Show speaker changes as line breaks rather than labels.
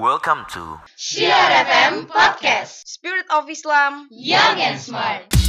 Welcome to
Syiar FM Podcast
Spirit of Islam
Young and Smart